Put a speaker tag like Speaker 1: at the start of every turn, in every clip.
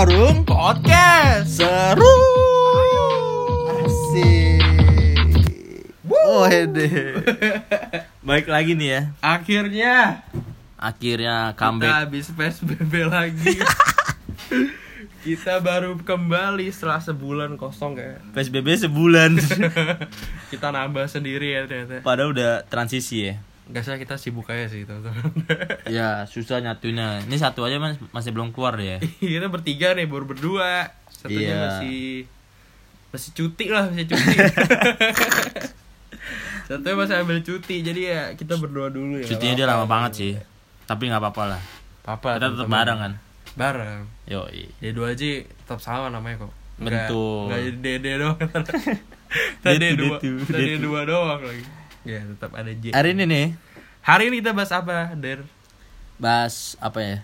Speaker 1: Iya. podcast
Speaker 2: Seru. Asik. Oh, Wede. Baik lagi nih ya.
Speaker 1: akhirnya
Speaker 2: Akhirnya
Speaker 1: kita
Speaker 2: comeback.
Speaker 1: habis psbb lagi kita baru kembali setelah sebulan kosong kayak
Speaker 2: PSBB sebulan.
Speaker 1: kita nambah sendiri ya ternyata
Speaker 2: Padahal udah transisi ya.
Speaker 1: nggak salah kita sibuk aja sih teman-teman
Speaker 2: Ya susah nyatunya. Ini satu aja mas- masih belum keluar ya.
Speaker 1: kita bertiga nih baru berdua satunya
Speaker 2: Iya.
Speaker 1: masih masih cuti lah masih cuti satunya masih ambil cuti jadi ya kita berdua dulu ya
Speaker 2: Cutinya dia lama banget sih. Tapi nggak apa-apa lah.
Speaker 1: apa
Speaker 2: Kita tetap bareng kan.
Speaker 1: bareng
Speaker 2: Yo.
Speaker 1: D2 aja tetap sama namanya kok.
Speaker 2: Betul.
Speaker 1: Enggak jadi DD doang. Tadi D2,
Speaker 2: D2, D2.
Speaker 1: tadi D2 doang lagi. Ya, tetap ada J.
Speaker 2: Hari ini nih
Speaker 1: Hari ini kita bahas apa, Der?
Speaker 2: bahas apa ya?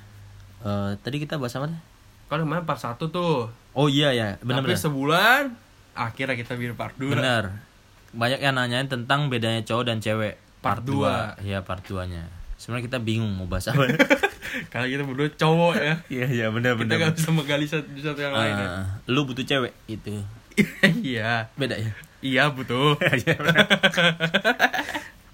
Speaker 2: Eh, tadi kita bahas apa? nih?
Speaker 1: Kalau kemarin part 1 tuh.
Speaker 2: Oh iya ya,
Speaker 1: Tapi
Speaker 2: benar-benar.
Speaker 1: sebulan akhirnya kita bikin part 2.
Speaker 2: Bener. Banyak yang nanyain tentang bedanya cowok dan cewek.
Speaker 1: Part dua.
Speaker 2: dua. Iya, part 2-nya. Sebenarnya kita bingung mau bahas apa.
Speaker 1: Karena kita berdua cowok ya.
Speaker 2: Iya, iya, Oh, bener Ah.
Speaker 1: Kita gak bisa menggali satu, satu yang lain
Speaker 2: iya.
Speaker 1: ya.
Speaker 2: eh, lu butuh cewek itu.
Speaker 1: Iya.
Speaker 2: Beda ya.
Speaker 1: Iya, butuh.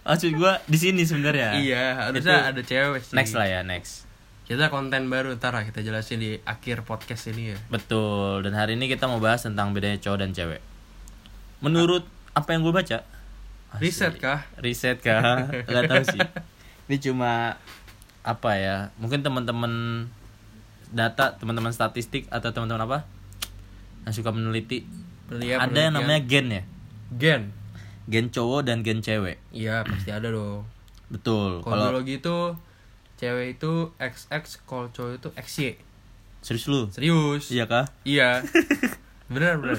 Speaker 2: Maksud gua di sini sebenarnya.
Speaker 1: iya, harusnya ada cewek sih.
Speaker 2: Next lah ya, next.
Speaker 1: Kita konten baru ntar lah kita jelasin di akhir podcast ini ya.
Speaker 2: Betul. Dan hari ini kita mau bahas tentang bedanya cowok dan cewek. Menurut apa yang gue baca? Asik.
Speaker 1: Riset kah?
Speaker 2: Riset kah? Gak tahu sih. Ini cuma apa ya? Mungkin teman-teman data, teman-teman statistik atau teman-teman apa yang suka meneliti.
Speaker 1: Penelitian-
Speaker 2: ada yang namanya gen ya.
Speaker 1: Gen.
Speaker 2: Gen cowok dan gen cewek.
Speaker 1: Iya, pasti ada dong.
Speaker 2: Betul.
Speaker 1: Kalau
Speaker 2: Kalau
Speaker 1: biologi itu cewek itu XX, kalau cowok itu XY.
Speaker 2: serius lu?
Speaker 1: Serius.
Speaker 2: Iya kah?
Speaker 1: Iya. bener bener.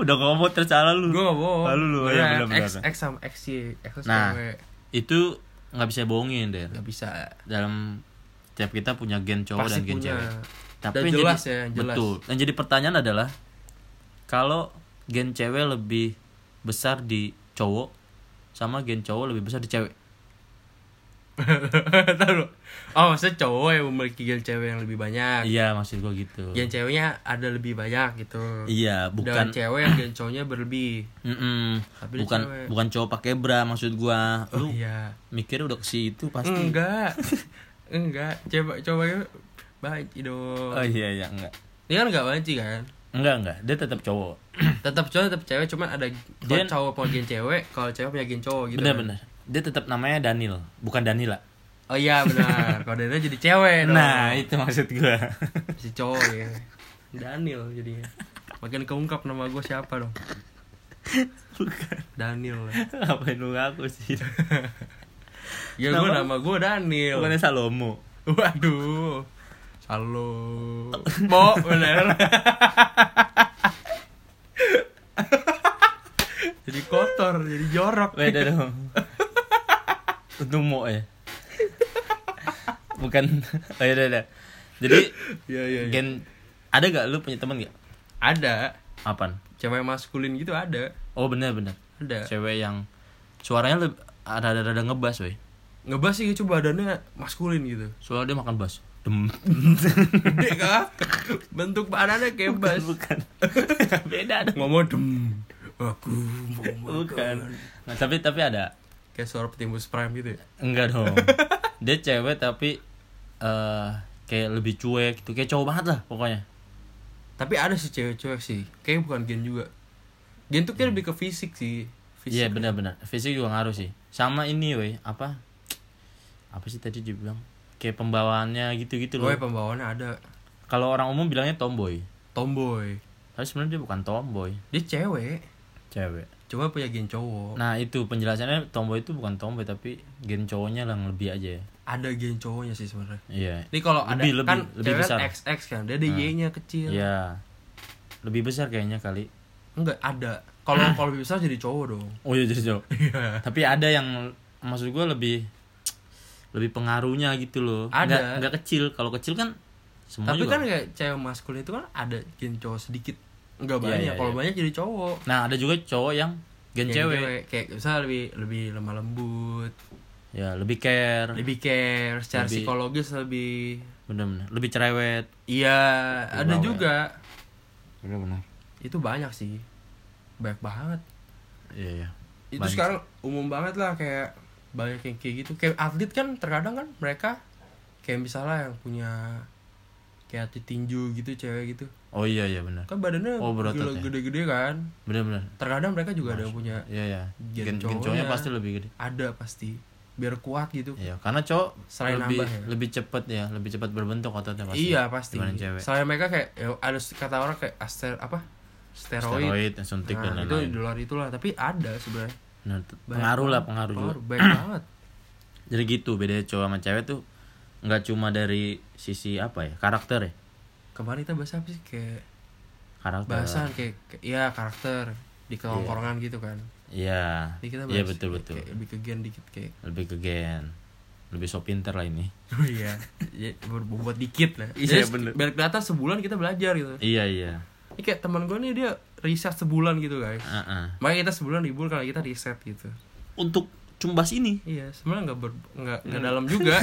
Speaker 2: Udah ngomong tersalah lu.
Speaker 1: Gue gak bohong.
Speaker 2: Lalu lu, iya,
Speaker 1: Beneran,
Speaker 2: bener, bener.
Speaker 1: XX sama XY. X
Speaker 2: Nah.
Speaker 1: cewek.
Speaker 2: Itu nggak bisa bohongin, Der.
Speaker 1: Gak bisa.
Speaker 2: dalam tiap kita punya gen cowok
Speaker 1: Pasti
Speaker 2: dan gen
Speaker 1: punya.
Speaker 2: cewek. Tapi
Speaker 1: Dan
Speaker 2: yang
Speaker 1: jelas
Speaker 2: jadi,
Speaker 1: ya, yang jelas.
Speaker 2: Betul. Yang jadi pertanyaan adalah kalau gen cewek lebih besar di cowok sama gen cowok lebih besar di cewek.
Speaker 1: Tahu lu? Oh, maksudnya cowok yang memiliki gen cewek yang lebih banyak.
Speaker 2: Iya, maksud gua gitu.
Speaker 1: Gen ceweknya ada lebih banyak gitu.
Speaker 2: Iya,
Speaker 1: Dan
Speaker 2: bukan
Speaker 1: cewek yang gen cowoknya berlebih.
Speaker 2: Mm-mm.
Speaker 1: Tapi di
Speaker 2: bukan
Speaker 1: cewek.
Speaker 2: bukan cowok pakai bra maksud gua. Lu
Speaker 1: Iya.
Speaker 2: mikirnya udah ke situ pasti.
Speaker 1: Enggak. Enggak. Coba coba banci dong.
Speaker 2: Oh iya iya enggak.
Speaker 1: Dia kan enggak banci kan?
Speaker 2: Enggak enggak, dia tetap cowok.
Speaker 1: tetap cowok tetap cewek cuman ada kalau
Speaker 2: Dia-
Speaker 1: cowok punya gen cewek kalau cewek punya gen cowok gitu kan.
Speaker 2: Benar-benar. Dia tetap namanya Daniel, bukan Danila.
Speaker 1: oh iya benar kalau dia jadi cewek Iya dong.
Speaker 2: Nah, itu maksud gua.
Speaker 1: si cowok ya Daniel jadinya makin keungkap nama gue siapa dong
Speaker 2: bukan.
Speaker 1: Daniel
Speaker 2: Ngapain lu ngaku sih?
Speaker 1: Iya. ya gue
Speaker 2: Nama-
Speaker 1: nama gue Daniel
Speaker 2: Bukannya Salomo.
Speaker 1: waduh halo mau bener jadi kotor jadi jorok
Speaker 2: Beda Eh, dong. Untung mo ya. Bukan. Oh, ya, ya, Jadi
Speaker 1: Iya, iya, iya.
Speaker 2: gen ada gak lu punya teman gak?
Speaker 1: ada
Speaker 2: Apaan?
Speaker 1: cewek maskulin gitu ada
Speaker 2: Oh bener bener.
Speaker 1: ada
Speaker 2: Cewek yang suaranya lebih rada-rada ngebas weh.
Speaker 1: ngebas sih gitu badannya maskulin gitu
Speaker 2: Soalnya dia makan bas. Dem.
Speaker 1: gede kah bentuk badannya kayak bas
Speaker 2: Bukan. Beda dong.
Speaker 1: ngomong dem aku mau
Speaker 2: Bukan. Nah, tapi tapi ada.
Speaker 1: kayak suara petimbus prime gitu ya
Speaker 2: Enggak dong. Dia cewek tapi eh kayak lebih cuek gitu. Kayak cowok banget lah pokoknya.
Speaker 1: tapi ada sih cewek-cewek sih kayaknya bukan gen juga gen tuh kayak lebih ke fisik sih fisik
Speaker 2: Iya benar-benar fisik juga ngaruh sih. Sama ini weh apa? Apa sih tadi dibilang? Kayak pembawaannya gitu-gitu loh.
Speaker 1: gue pembawaannya ada
Speaker 2: Kalau orang umum bilangnya tomboy,
Speaker 1: tomboy
Speaker 2: tapi sebenarnya dia bukan tomboy,
Speaker 1: dia cewek Oh.
Speaker 2: cewek.
Speaker 1: cuma punya gen cowok
Speaker 2: Nah itu penjelasannya tomboy itu bukan tomboy tapi gen cowoknya yang lebih aja. ya.
Speaker 1: ada gen cowoknya sih sebenarnya
Speaker 2: Iya.
Speaker 1: ini kalau ada
Speaker 2: Lebih, lebih,
Speaker 1: kan
Speaker 2: lebih
Speaker 1: cewek
Speaker 2: besar. Nah.
Speaker 1: XX kan dia ada Y-nya kecil
Speaker 2: Iya. Lebih besar kayaknya kali.
Speaker 1: enggak ada kalau kalau lebih besar jadi cowok dong
Speaker 2: Oh iya jadi cowok.
Speaker 1: iya
Speaker 2: tapi ada yang maksud gue lebih lebih pengaruhnya gitu loh.
Speaker 1: Ada.
Speaker 2: Nggak, nggak kecil. Kalau kecil kan semua
Speaker 1: Tapi kan
Speaker 2: juga.
Speaker 1: kayak cewek maskulin itu kan ada gen cowok sedikit. Enggak
Speaker 2: Iya,
Speaker 1: banyak.
Speaker 2: iya,
Speaker 1: Kalau
Speaker 2: iya.
Speaker 1: banyak jadi cowok.
Speaker 2: Nah ada juga cowok yang gen
Speaker 1: Gen
Speaker 2: cewek.
Speaker 1: Kayak misalnya lebih lebih lemah lembut,
Speaker 2: ya lebih care
Speaker 1: lebih care secara
Speaker 2: Lebih-
Speaker 1: psikologis lebih
Speaker 2: bener-bener lebih cerewet
Speaker 1: Iya, ada
Speaker 2: bawel.
Speaker 1: juga.
Speaker 2: benar benar
Speaker 1: itu banyak sih banyak banget
Speaker 2: iya iya
Speaker 1: itu
Speaker 2: Banyak.
Speaker 1: sekarang umum banget lah kayak banyak yang kayak gitu kayak atlet kan terkadang kan mereka kayak misalnya yang punya kayak atlet tinju gitu cewek gitu
Speaker 2: oh iya iya benar
Speaker 1: kan badannya
Speaker 2: Oh, berotot
Speaker 1: gila-
Speaker 2: ya?
Speaker 1: gede-gede kan
Speaker 2: benar benar
Speaker 1: terkadang mereka juga ada yang punya
Speaker 2: iya iya
Speaker 1: Gen
Speaker 2: Gen-
Speaker 1: cowoknya.
Speaker 2: gencongnya pasti lebih gede
Speaker 1: ada pasti biar kuat gitu
Speaker 2: iya karena cowok
Speaker 1: Selain
Speaker 2: lebih
Speaker 1: nambah ya.
Speaker 2: lebih cepet ya lebih cepat berbentuk ototnya pasti
Speaker 1: iya pasti
Speaker 2: dibanding cewek
Speaker 1: selain mereka kayak ya, ada kata orang kayak aster apa steroid,
Speaker 2: steroid, suntik dan
Speaker 1: nah, itu
Speaker 2: lain-lain
Speaker 1: di luar itulah tapi ada sebenarnya
Speaker 2: Nah, t-
Speaker 1: Banyak
Speaker 2: pengaruh lah
Speaker 1: banget.
Speaker 2: pengaruh juga
Speaker 1: baik banget
Speaker 2: jadi gitu bedanya cowok sama cewek tuh nggak cuma dari sisi apa ya karakter ya
Speaker 1: kemarin kita bahas apa sih kayak
Speaker 2: karakter
Speaker 1: bahasan kayak kayak- ya karakter di kelongkorangan gitu kan
Speaker 2: iya
Speaker 1: jadi kita bahas
Speaker 2: iya betul betul
Speaker 1: kayak lebih ke gen dikit kayak
Speaker 2: lebih ke gen lebih so pinter lah ini
Speaker 1: oh iya ya, buat dikit lah
Speaker 2: Iya,
Speaker 1: Jadi,
Speaker 2: bener.
Speaker 1: balik data sebulan kita belajar gitu
Speaker 2: iya iya
Speaker 1: ini kayak teman gue nih dia riset sebulan gitu guys
Speaker 2: Ah, ah.
Speaker 1: makanya kita sebulan libur kalau kita riset gitu
Speaker 2: untuk cumbas ini
Speaker 1: iya sebenarnya nggak ber nggak nggak
Speaker 2: Hmm.
Speaker 1: dalam juga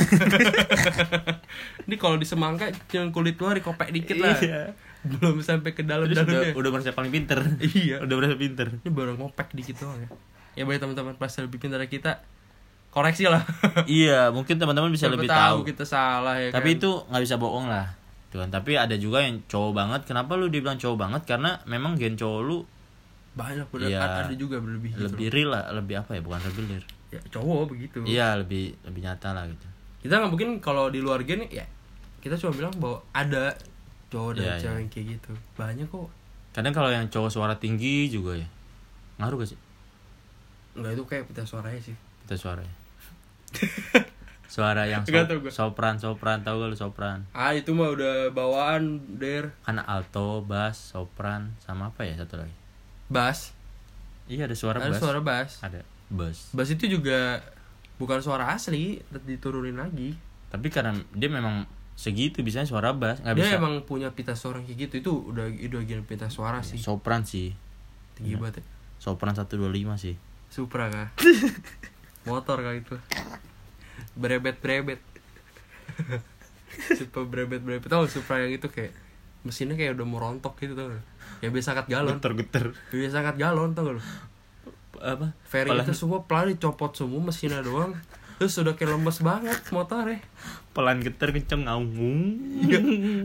Speaker 1: ini kalau di semangka cuman kulit luar dikopek dikit lah
Speaker 2: Iya.
Speaker 1: belum sampai ke dalam
Speaker 2: Terus udah,
Speaker 1: dalamnya
Speaker 2: udah merasa paling pinter
Speaker 1: Iya.
Speaker 2: udah merasa pinter
Speaker 1: ini baru ngopek dikit doang ya ya bagi teman-teman pas lebih pintar dari kita koreksi lah
Speaker 2: iya mungkin teman-teman bisa
Speaker 1: Siapa
Speaker 2: lebih tahu gitu,
Speaker 1: kita salah ya
Speaker 2: tapi
Speaker 1: kan?
Speaker 2: itu nggak bisa bohong lah tuh kan tapi ada juga yang cowok banget kenapa lu dibilang cowok banget karena memang gen cowok lu
Speaker 1: banyak bener
Speaker 2: Iya.
Speaker 1: ada juga berlebih gitu
Speaker 2: lebih real lah lebih apa ya bukan rebelir
Speaker 1: ya, cowok begitu
Speaker 2: iya lebih lebih nyata lah gitu
Speaker 1: kita nggak mungkin kalau di luar gen ya kita cuma bilang bahwa ada cowok dan
Speaker 2: Iya,
Speaker 1: cewek
Speaker 2: iya.
Speaker 1: yang kayak gitu banyak kok
Speaker 2: kadang kalau yang cowok suara tinggi juga ya ngaruh gak sih
Speaker 1: nggak itu kayak pita suaranya sih
Speaker 2: kita suaranya suara yang so-
Speaker 1: Nggak tahu gua.
Speaker 2: sopran sopran tau gak lu sopran
Speaker 1: ah itu mah udah bawaan der
Speaker 2: kan alto bass sopran sama apa ya satu lagi
Speaker 1: bass
Speaker 2: iya ada suara
Speaker 1: ada
Speaker 2: bass
Speaker 1: suara bass
Speaker 2: ada bass
Speaker 1: bass itu juga bukan suara asli diturunin lagi
Speaker 2: tapi karena dia memang segitu bisanya suara bass nggak
Speaker 1: dia
Speaker 2: bisa
Speaker 1: emang punya pita suara yang kayak gitu itu udah udah gen pita suara sih
Speaker 2: Ya, sopran sih
Speaker 1: tinggi
Speaker 2: Iya.
Speaker 1: banget ya.
Speaker 2: sopran 125 sih
Speaker 1: Supra kah? Motor kah itu? Berebet-berebet Supra berebet-berebet Tau nggak Supra yang itu kayak Mesinnya kayak udah mau rontok gitu tau nggak? Yang biasa angkat galon
Speaker 2: geter
Speaker 1: Yang biasa angkat galon tau gak lu?
Speaker 2: apa
Speaker 1: Ferry
Speaker 2: Pelan-
Speaker 1: itu semua pelan dicopot semua mesinnya doang Terus udah kayak lemes banget motornya
Speaker 2: pelan geter kenceng
Speaker 1: Iya.
Speaker 2: ngaung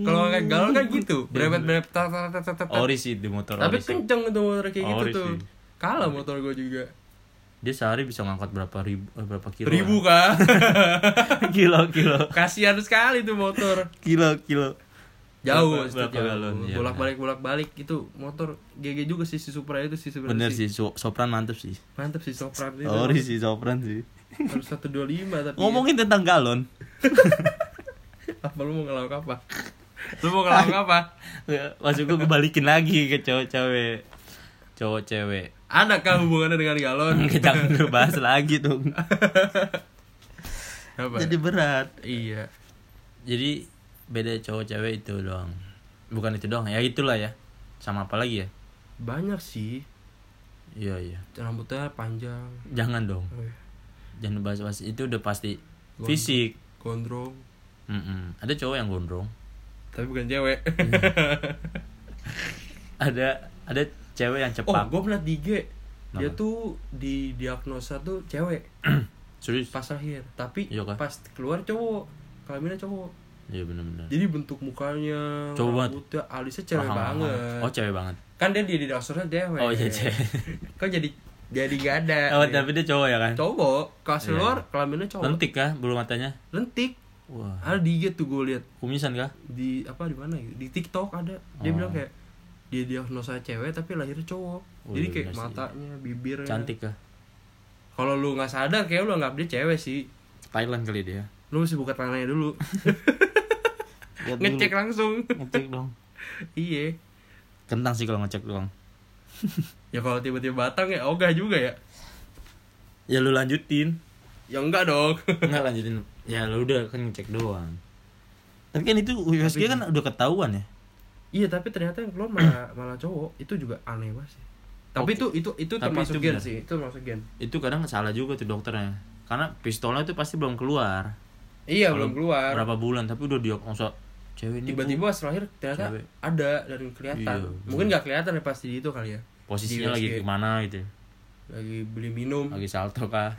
Speaker 1: Kalau angkat galon kan gitu Berebet-berebet tar, tar, tar, tar, tar.
Speaker 2: Iya, ori sih di motor
Speaker 1: Tapi
Speaker 2: ori sih.
Speaker 1: kenceng tuh motor kayak gitu
Speaker 2: Ori
Speaker 1: tuh
Speaker 2: sih.
Speaker 1: Kalah motor gue juga
Speaker 2: dia sehari bisa ngangkat berapa ribu eh, berapa kilo
Speaker 1: Ribu kan? kah?
Speaker 2: kilo kilo
Speaker 1: Kasihan sekali tuh motor
Speaker 2: kilo kilo
Speaker 1: jauh
Speaker 2: Berapa-
Speaker 1: maksudnya
Speaker 2: berapa
Speaker 1: jauh.
Speaker 2: galon? Iya,
Speaker 1: bolak balik bolak balik itu motor GG juga sih si Supra itu sih Iya. sebenarnya
Speaker 2: bener sih so- sopran mantep sih
Speaker 1: mantep sih Supra itu
Speaker 2: ori sih sopran sih
Speaker 1: harus satu dua lima tapi
Speaker 2: ngomongin tentang galon
Speaker 1: apa lu mau ngelawak apa lu mau ngelawak apa
Speaker 2: maksud gue balikin lagi ke cowok cewek cowok cewek
Speaker 1: ada kah hubungannya dengan galon
Speaker 2: kita perlu bahas lagi tuh
Speaker 1: apa
Speaker 2: jadi berat
Speaker 1: iya
Speaker 2: jadi beda cowok cewek itu doang bukan itu doang ya itulah ya sama apa lagi ya
Speaker 1: banyak sih
Speaker 2: iya iya
Speaker 1: rambutnya panjang
Speaker 2: jangan dong
Speaker 1: eh,
Speaker 2: jangan bahas bahas itu udah pasti
Speaker 1: Gondrong.
Speaker 2: fisik
Speaker 1: gondrong
Speaker 2: Mm-mm. ada cowok yang gondrong
Speaker 1: tapi bukan cewek
Speaker 2: Iya. ada ada cewek yang
Speaker 1: oh
Speaker 2: cepak
Speaker 1: gue pernah di IG dia
Speaker 2: Kenapa?
Speaker 1: tuh di diagnosa tuh cewek
Speaker 2: serius
Speaker 1: pas lahir tapi
Speaker 2: Iya kah?
Speaker 1: pas keluar cowok kelaminnya cowok
Speaker 2: iya benar-benar
Speaker 1: jadi bentuk mukanya
Speaker 2: Cowok banget.
Speaker 1: rambutnya alisnya cewek
Speaker 2: Paham, paham.
Speaker 1: banget
Speaker 2: oh cewek banget
Speaker 1: kan dia di dinosaurnya cewek
Speaker 2: oh iya cewek
Speaker 1: kok jadi jadi gak ada
Speaker 2: oh tapi dia cowok ya kan
Speaker 1: cowok kelas
Speaker 2: Iya.
Speaker 1: luar kelaminnya cowok lentik,
Speaker 2: lentik kah bulu matanya wah
Speaker 1: ada di IG tuh gue lihat
Speaker 2: kumisan kah
Speaker 1: di apa di mana ya? di TikTok ada dia
Speaker 2: Oh.
Speaker 1: bilang kayak dia diagnosa cewek tapi lahirnya cowok
Speaker 2: Oh,
Speaker 1: jadi
Speaker 2: iya
Speaker 1: kayak
Speaker 2: bener sih.
Speaker 1: matanya bibirnya
Speaker 2: cantik kah
Speaker 1: kalau lu nggak sadar kayak lu nggak dia cewek sih
Speaker 2: Thailand kali dia
Speaker 1: lu mesti buka tangannya dulu
Speaker 2: Lihat dulu.
Speaker 1: ngecek langsung
Speaker 2: ngecek dong
Speaker 1: iya
Speaker 2: kentang sih kalau ngecek doang
Speaker 1: ya kalau tiba-tiba batang ya ogah juga ya
Speaker 2: ya lu lanjutin
Speaker 1: ya enggak dong
Speaker 2: Enggak lanjutin ya lu udah kan ngecek doang tapi kan itu USG kan udah ketahuan ya
Speaker 1: iya tapi ternyata yang keluar malah malah cowok itu juga aneh banget sih tapi itu itu itu
Speaker 2: Oh, Tapi
Speaker 1: termasuk
Speaker 2: itu
Speaker 1: gen
Speaker 2: benar.
Speaker 1: sih itu termasuk gen
Speaker 2: itu kadang salah juga tuh dokternya karena pistolnya itu pasti belum keluar
Speaker 1: iya
Speaker 2: Kalau
Speaker 1: belum keluar
Speaker 2: berapa bulan tapi udah diagnosa cewek ini
Speaker 1: tiba-tiba pas lahir ternyata
Speaker 2: cewek.
Speaker 1: ada dan kelihatan
Speaker 2: Iya,
Speaker 1: mungkin nggak kelihatan ya pasti itu kali ya
Speaker 2: tuh
Speaker 1: di
Speaker 2: posisinya lagi
Speaker 1: USG.
Speaker 2: kemana gitu
Speaker 1: lagi beli minum
Speaker 2: lagi salto kah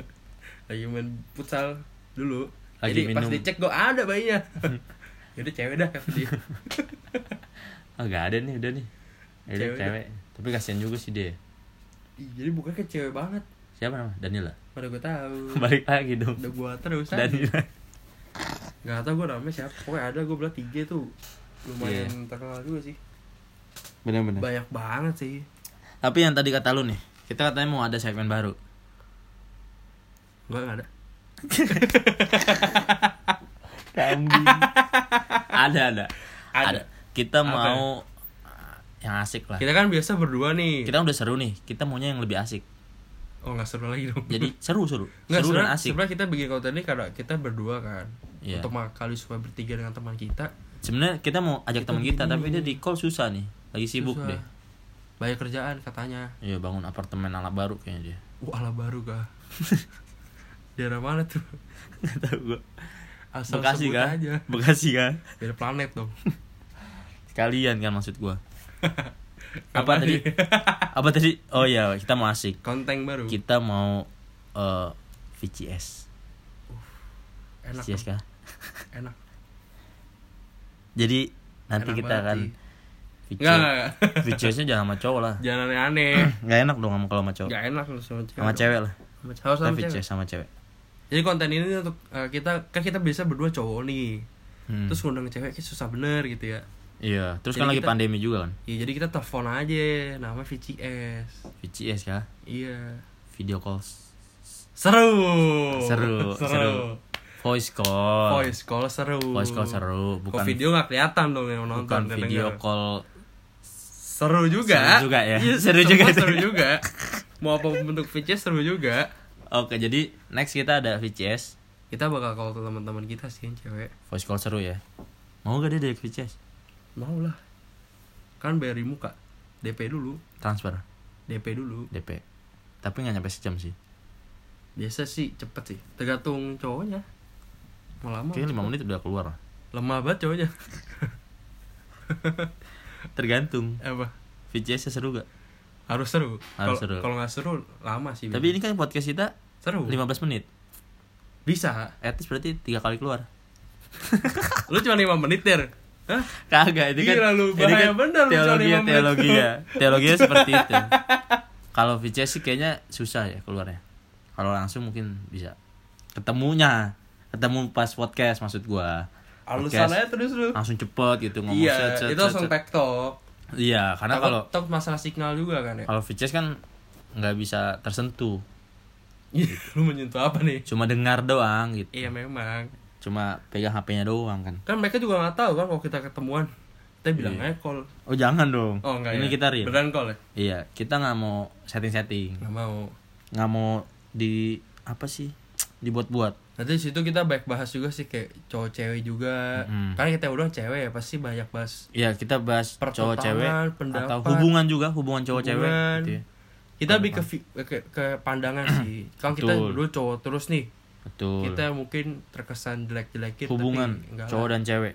Speaker 1: lagi main futsal dulu
Speaker 2: Lagi
Speaker 1: jadi pas
Speaker 2: minum.
Speaker 1: dicek kok ada bayinya jadi cewek dah kata dia
Speaker 2: ah nggak ada nih udah nih Ya udah,
Speaker 1: Cewek.
Speaker 2: cewek tapi kasihan juga sih dia
Speaker 1: Ih, jadi bukan ke cewek banget
Speaker 2: siapa nama Danila
Speaker 1: mana gue tahu
Speaker 2: balik lagi dong
Speaker 1: udah gua terus aja.
Speaker 2: Danila
Speaker 1: nggak tahu gue namanya siapa pokoknya ada gue bilang tiga tuh lumayan
Speaker 2: Iya.
Speaker 1: terkenal juga sih
Speaker 2: benar-benar
Speaker 1: banyak banget sih
Speaker 2: tapi yang tadi kata lu nih kita katanya mau ada segmen baru
Speaker 1: gue nggak ada
Speaker 2: kambing ada ada
Speaker 1: Ada.
Speaker 2: ada kita
Speaker 1: Apa?
Speaker 2: mau ah, yang asik lah
Speaker 1: kita kan biasa berdua nih
Speaker 2: kita udah seru nih kita maunya yang lebih asik
Speaker 1: oh nggak seru lagi dong
Speaker 2: jadi seru seru
Speaker 1: nggak
Speaker 2: seru dan
Speaker 1: sebenarnya
Speaker 2: asik
Speaker 1: sebenarnya kita bikin konten ini karena kita berdua kan
Speaker 2: Iya.
Speaker 1: untuk kali supaya bertiga dengan teman kita
Speaker 2: sebenarnya kita mau ajak
Speaker 1: Kita
Speaker 2: teman kita
Speaker 1: begini.
Speaker 2: tapi dia di call susah nih lagi sibuk
Speaker 1: Susah.
Speaker 2: deh
Speaker 1: banyak kerjaan katanya
Speaker 2: iya bangun apartemen ala baru kayaknya dia
Speaker 1: wah ala baru kah daerah mana tuh
Speaker 2: nggak tahu gua
Speaker 1: asal
Speaker 2: bekasi
Speaker 1: sebut
Speaker 2: kan
Speaker 1: aja
Speaker 2: bekasi kan
Speaker 1: beda planet dong
Speaker 2: sekalian kan maksud gua apa tadi apa tadi oh iya kita mau asik
Speaker 1: konten baru
Speaker 2: kita mau eh, VCS
Speaker 1: enak
Speaker 2: VCS kah
Speaker 1: enak
Speaker 2: jadi nanti
Speaker 1: Enak
Speaker 2: kita
Speaker 1: banget iya.
Speaker 2: akan
Speaker 1: sih. Enggak,
Speaker 2: VCS
Speaker 1: enggak, enggak.
Speaker 2: VCS-nya jangan sama cowok lah
Speaker 1: Jangan aneh-aneh.
Speaker 2: nggak enak dong sama kalau sama cowok
Speaker 1: Enggak enak lu sama cewek.
Speaker 2: sama cewek lah
Speaker 1: Sama cewek. Harus
Speaker 2: kita
Speaker 1: sama cewek.
Speaker 2: VCS sama cewek
Speaker 1: Jadi konten ini untuk eh, kita kan kita biasa berdua cowok nih.
Speaker 2: Hmm.
Speaker 1: Terus ngundang cewek kayak susah bener gitu ya.
Speaker 2: iya terus
Speaker 1: Jadi
Speaker 2: kan lagi
Speaker 1: kita-
Speaker 2: pandemi juga kan
Speaker 1: Ya jadi kita telepon aja nama VCS.
Speaker 2: VCS ya
Speaker 1: Iya.
Speaker 2: video calls
Speaker 1: Seru.
Speaker 2: Seru, seru. voice call
Speaker 1: Voice call seru.
Speaker 2: Voice call seru
Speaker 1: Kok
Speaker 2: bukan
Speaker 1: video nggak kelihatan dong yang nonton
Speaker 2: bukan
Speaker 1: dan
Speaker 2: video
Speaker 1: denger.
Speaker 2: call
Speaker 1: Seru juga.
Speaker 2: Seru juga ya.
Speaker 1: Iya,
Speaker 2: Seru
Speaker 1: seru
Speaker 2: juga
Speaker 1: juga.
Speaker 2: itu.
Speaker 1: Seru juga. Mau apa bentuk VCS seru juga.
Speaker 2: oke jadi next kita ada VCS
Speaker 1: Kita bakal call ke teman-teman kita sih yang cewek.
Speaker 2: voice call seru ya mau gak dia dari VCS
Speaker 1: Mau lah. Kan bayar di muka. DP dulu.
Speaker 2: transfer
Speaker 1: DP dulu.
Speaker 2: DP tapi nggak nyampe sejam sih
Speaker 1: Biasa sih cepet sih. Tergantung cowoknya. Mau lama.
Speaker 2: kayaknya lima menit udah keluar
Speaker 1: Lemah banget cowoknya.
Speaker 2: tergantung
Speaker 1: Apa?
Speaker 2: VCS seru gak
Speaker 1: Harus seru. Kalau-
Speaker 2: Harus seru.
Speaker 1: Kalau nggak seru lama sih.
Speaker 2: tapi ini kan podcast kita
Speaker 1: seru.
Speaker 2: 15 menit
Speaker 1: Bisa.
Speaker 2: at least berarti tiga kali keluar
Speaker 1: Lu cuma 5 menit, Der. Hah?
Speaker 2: kagak ini kan
Speaker 1: Gila lu,
Speaker 2: ini
Speaker 1: bahaya bener lu
Speaker 2: teologi
Speaker 1: cuma lima menit.
Speaker 2: teologi ya teologi seperti itu kalau VCS sih kayaknya susah ya keluarnya kalau langsung mungkin bisa ketemunya ketemu pas podcast maksud gua
Speaker 1: Alasan
Speaker 2: Podcast.
Speaker 1: aja terus lu.
Speaker 2: langsung cepet gitu ngomong
Speaker 1: Iya,
Speaker 2: set, set,
Speaker 1: itu
Speaker 2: set,
Speaker 1: langsung
Speaker 2: set.
Speaker 1: tektok.
Speaker 2: iya karena
Speaker 1: Takut-
Speaker 2: kalau
Speaker 1: takut masalah signal juga kan ya.
Speaker 2: kalau VCS kan nggak bisa tersentuh
Speaker 1: Iya, lu menyentuh apa nih?
Speaker 2: cuma dengar doang gitu
Speaker 1: Iya memang.
Speaker 2: cuma pegang HP-nya doang kan
Speaker 1: Kan mereka juga nggak tahu kan kalau kita ketemuan. Kita bilang aja call.
Speaker 2: oh jangan dong
Speaker 1: Oh enggak
Speaker 2: ini
Speaker 1: ya.
Speaker 2: kita real
Speaker 1: Beneran call ya?
Speaker 2: iya kita nggak mau setting-setting
Speaker 1: Nggak mau.
Speaker 2: nggak mau di apa sih dibuat-buat
Speaker 1: Nanti di situ kita banyak bahas juga sih kayak cowok cewek juga.
Speaker 2: Mm-mm.
Speaker 1: Karena kita udah cewek ya pasti banyak bahas.
Speaker 2: ya kita bahas cowok
Speaker 1: Pertentangan,
Speaker 2: cewek atau
Speaker 1: pendapat,
Speaker 2: hubungan juga hubungan cowok cewek
Speaker 1: hubungan.
Speaker 2: gitu ya.
Speaker 1: Kita lebih ke, fi- ke ke pandangan sih. Kalau kita
Speaker 2: Betul.
Speaker 1: dulu cowok terus nih,
Speaker 2: betul
Speaker 1: kita mungkin terkesan jelek-jelekin
Speaker 2: hubungan
Speaker 1: tapi enggak
Speaker 2: cowok
Speaker 1: lah.
Speaker 2: dan cewek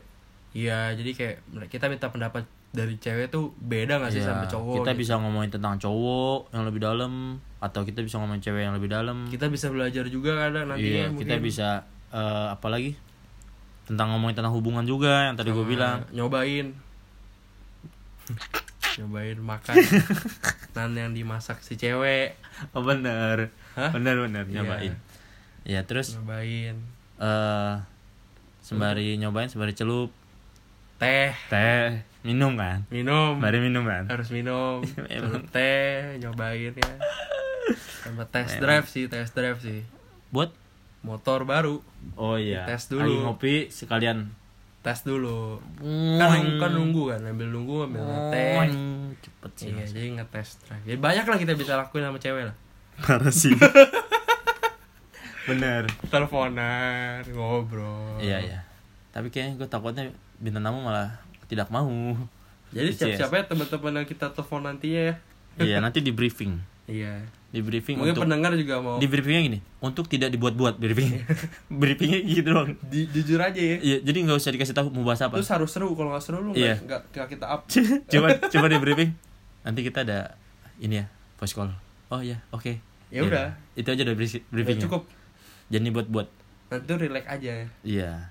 Speaker 1: Iya, jadi kayak kita minta pendapat dari cewek tuh beda nggak sih
Speaker 2: Ya,
Speaker 1: sama cowok?
Speaker 2: kita
Speaker 1: gitu.
Speaker 2: bisa ngomongin tentang cowok yang lebih dalam atau kita bisa ngomongin cewek yang lebih dalam
Speaker 1: Kita bisa belajar juga kadang nanti
Speaker 2: iya kita bisa eh, apa lagi tentang ngomongin tentang hubungan juga yang tadi
Speaker 1: Nah,
Speaker 2: gue bilang
Speaker 1: nyobain nyobain makan nan yang dimasak si cewek
Speaker 2: oh, bener
Speaker 1: Hah?
Speaker 2: bener bener
Speaker 1: Iya.
Speaker 2: nyobain ya terus
Speaker 1: nyobain
Speaker 2: eh sembari nyobain sembari celup
Speaker 1: teh
Speaker 2: teh minum kan
Speaker 1: minum
Speaker 2: sembari minum kan
Speaker 1: harus minum
Speaker 2: Emang.
Speaker 1: Terus teh nyobain ya sama test drive sih test drive sih
Speaker 2: buat
Speaker 1: motor baru
Speaker 2: oh iya
Speaker 1: Dites dulu.
Speaker 2: lagi ngopi sekalian
Speaker 1: tes dulu kan, kan nunggu kan ambil nunggu ambil
Speaker 2: Oeng.
Speaker 1: ngetes
Speaker 2: cepet sih
Speaker 1: iya jadi ngetes drive jadi banyak lah kita bisa lakuin sama cewek lah
Speaker 2: parah sih bener
Speaker 1: teleponan ngobrol
Speaker 2: iya iya tapi kayaknya gue takutnya bintang tamu malah tidak mau
Speaker 1: Jadi
Speaker 2: Yes.
Speaker 1: siap-siap ya teman-teman yang kita telepon nantinya ya.
Speaker 2: iya nanti di briefing
Speaker 1: Iya.
Speaker 2: Di briefing
Speaker 1: Mungkin
Speaker 2: untuk
Speaker 1: pendengar juga mau
Speaker 2: di briefingnya gini, untuk tidak dibuat-buat briefingnya. briefingnya gitu doang.
Speaker 1: di- jujur aja ya.
Speaker 2: Iya, jadi nggak usah dikasih tahu mau bahas apa.
Speaker 1: Terus harus seru kalau nggak seru lu
Speaker 2: Iya.
Speaker 1: nggak nggak nggak kita up.
Speaker 2: coba coba di briefing. Nanti kita ada ini ya, voice call. Oh iya, oke. Iya,
Speaker 1: Ya udah.
Speaker 2: Itu aja udah briefing-
Speaker 1: Udah
Speaker 2: briefingnya.
Speaker 1: cukup.
Speaker 2: Jangan dibuat-buat.
Speaker 1: Nanti tuh relax aja.
Speaker 2: Iya.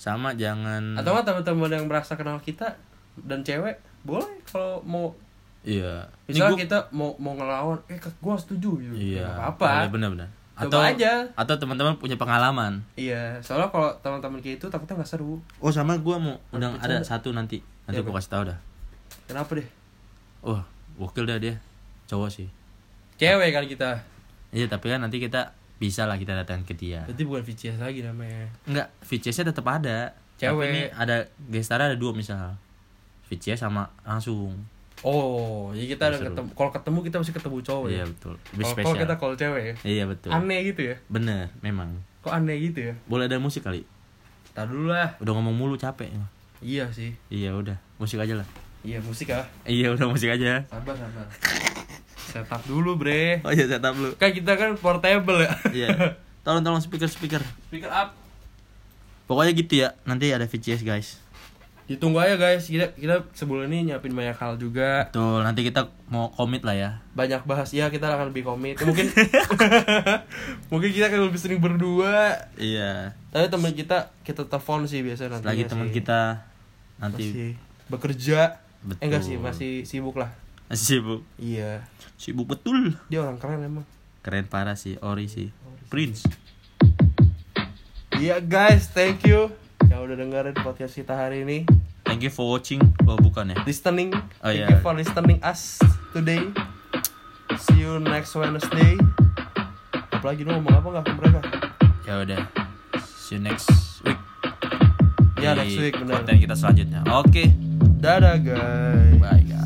Speaker 2: Sama jangan
Speaker 1: Atau nggak teman-teman yang merasa kenal kita dan cewek boleh kalau mau
Speaker 2: Iya. Ini
Speaker 1: misalnya
Speaker 2: gua-
Speaker 1: kita mau mau ngelawan eh ke- gua setuju gitu
Speaker 2: Iya.
Speaker 1: Nggak apa-apa
Speaker 2: Iya, benar-benar.
Speaker 1: Coba
Speaker 2: Atau
Speaker 1: aja.
Speaker 2: atau teman-teman punya pengalaman.
Speaker 1: iya soalnya kalau teman-teman kita itu takutnya nggak seru
Speaker 2: Oh, sama gua mau undang
Speaker 1: bercanda.
Speaker 2: ada satu nanti. Nanti
Speaker 1: Iya,
Speaker 2: gua
Speaker 1: Bang.
Speaker 2: kasih tahu dah.
Speaker 1: kenapa deh
Speaker 2: Wah, gokil dah dia. Cowok sih.
Speaker 1: cewek kan kita
Speaker 2: Iya, tapi kan nanti kita bisa lah kita datang ke dia.
Speaker 1: berarti bukan VCS lagi namanya
Speaker 2: Enggak, VCS-nya tetap ada. Tapi
Speaker 1: Cewek.
Speaker 2: ini ada gestara ada dua misal. VCS sama langsung.
Speaker 1: oh jadi kita
Speaker 2: Nggak
Speaker 1: udah
Speaker 2: seru.
Speaker 1: ketemu kalau ketemu kita mesti ketemu cowok
Speaker 2: iya,
Speaker 1: ya
Speaker 2: betul. Lebih
Speaker 1: kalau
Speaker 2: spesial.
Speaker 1: kalau kita call cewek ya
Speaker 2: Iya, betul.
Speaker 1: aneh gitu ya
Speaker 2: Bener, memang.
Speaker 1: kok aneh gitu ya
Speaker 2: Boleh ada musik kali.
Speaker 1: tar dulu lah
Speaker 2: Udah ngomong mulu capek.
Speaker 1: iya sih
Speaker 2: Iya, udah. Musik aja lah.
Speaker 1: iya musik ah
Speaker 2: Iya, udah musik aja.
Speaker 1: sabar sabar setup dulu bre
Speaker 2: Oh iya, setup lu.
Speaker 1: kan kita kan portable ya
Speaker 2: Iya. Tolong tolong speaker speaker.
Speaker 1: speaker up
Speaker 2: Pokoknya gitu ya. Nanti ada VCS guys.
Speaker 1: ditunggu aja guys kita kita sebulan ini nyiapin banyak hal juga
Speaker 2: Betul. Nanti kita mau komit lah ya.
Speaker 1: banyak bahas ya kita akan lebih komit mungkin mungkin kita akan lebih sering berdua
Speaker 2: Iya.
Speaker 1: tapi teman kita kita telepon Iya sih biasa nanti
Speaker 2: Lagi teman kita nanti
Speaker 1: masih bekerja
Speaker 2: Betul.
Speaker 1: eh, enggak sih masih sibuk lah
Speaker 2: masih sibuk.
Speaker 1: iya
Speaker 2: Sibuk betul.
Speaker 1: dia orang keren emang
Speaker 2: Keren parah sih Ori sih. Prince.
Speaker 1: iya guys thank you yang udah dengerin podcast kita hari ini
Speaker 2: Thank you for watching. Oh bukan ya.
Speaker 1: listening
Speaker 2: Oh,
Speaker 1: thank
Speaker 2: iya.
Speaker 1: you for listening us today see you next Wednesday apalagi lu ngomong apa nggak ke mereka
Speaker 2: Ya udah. See you next week.
Speaker 1: Ya,
Speaker 2: Di Ya, Iya,
Speaker 1: next week, benar.
Speaker 2: Konten kita selanjutnya. Oke.
Speaker 1: dadah guys
Speaker 2: Bye guys.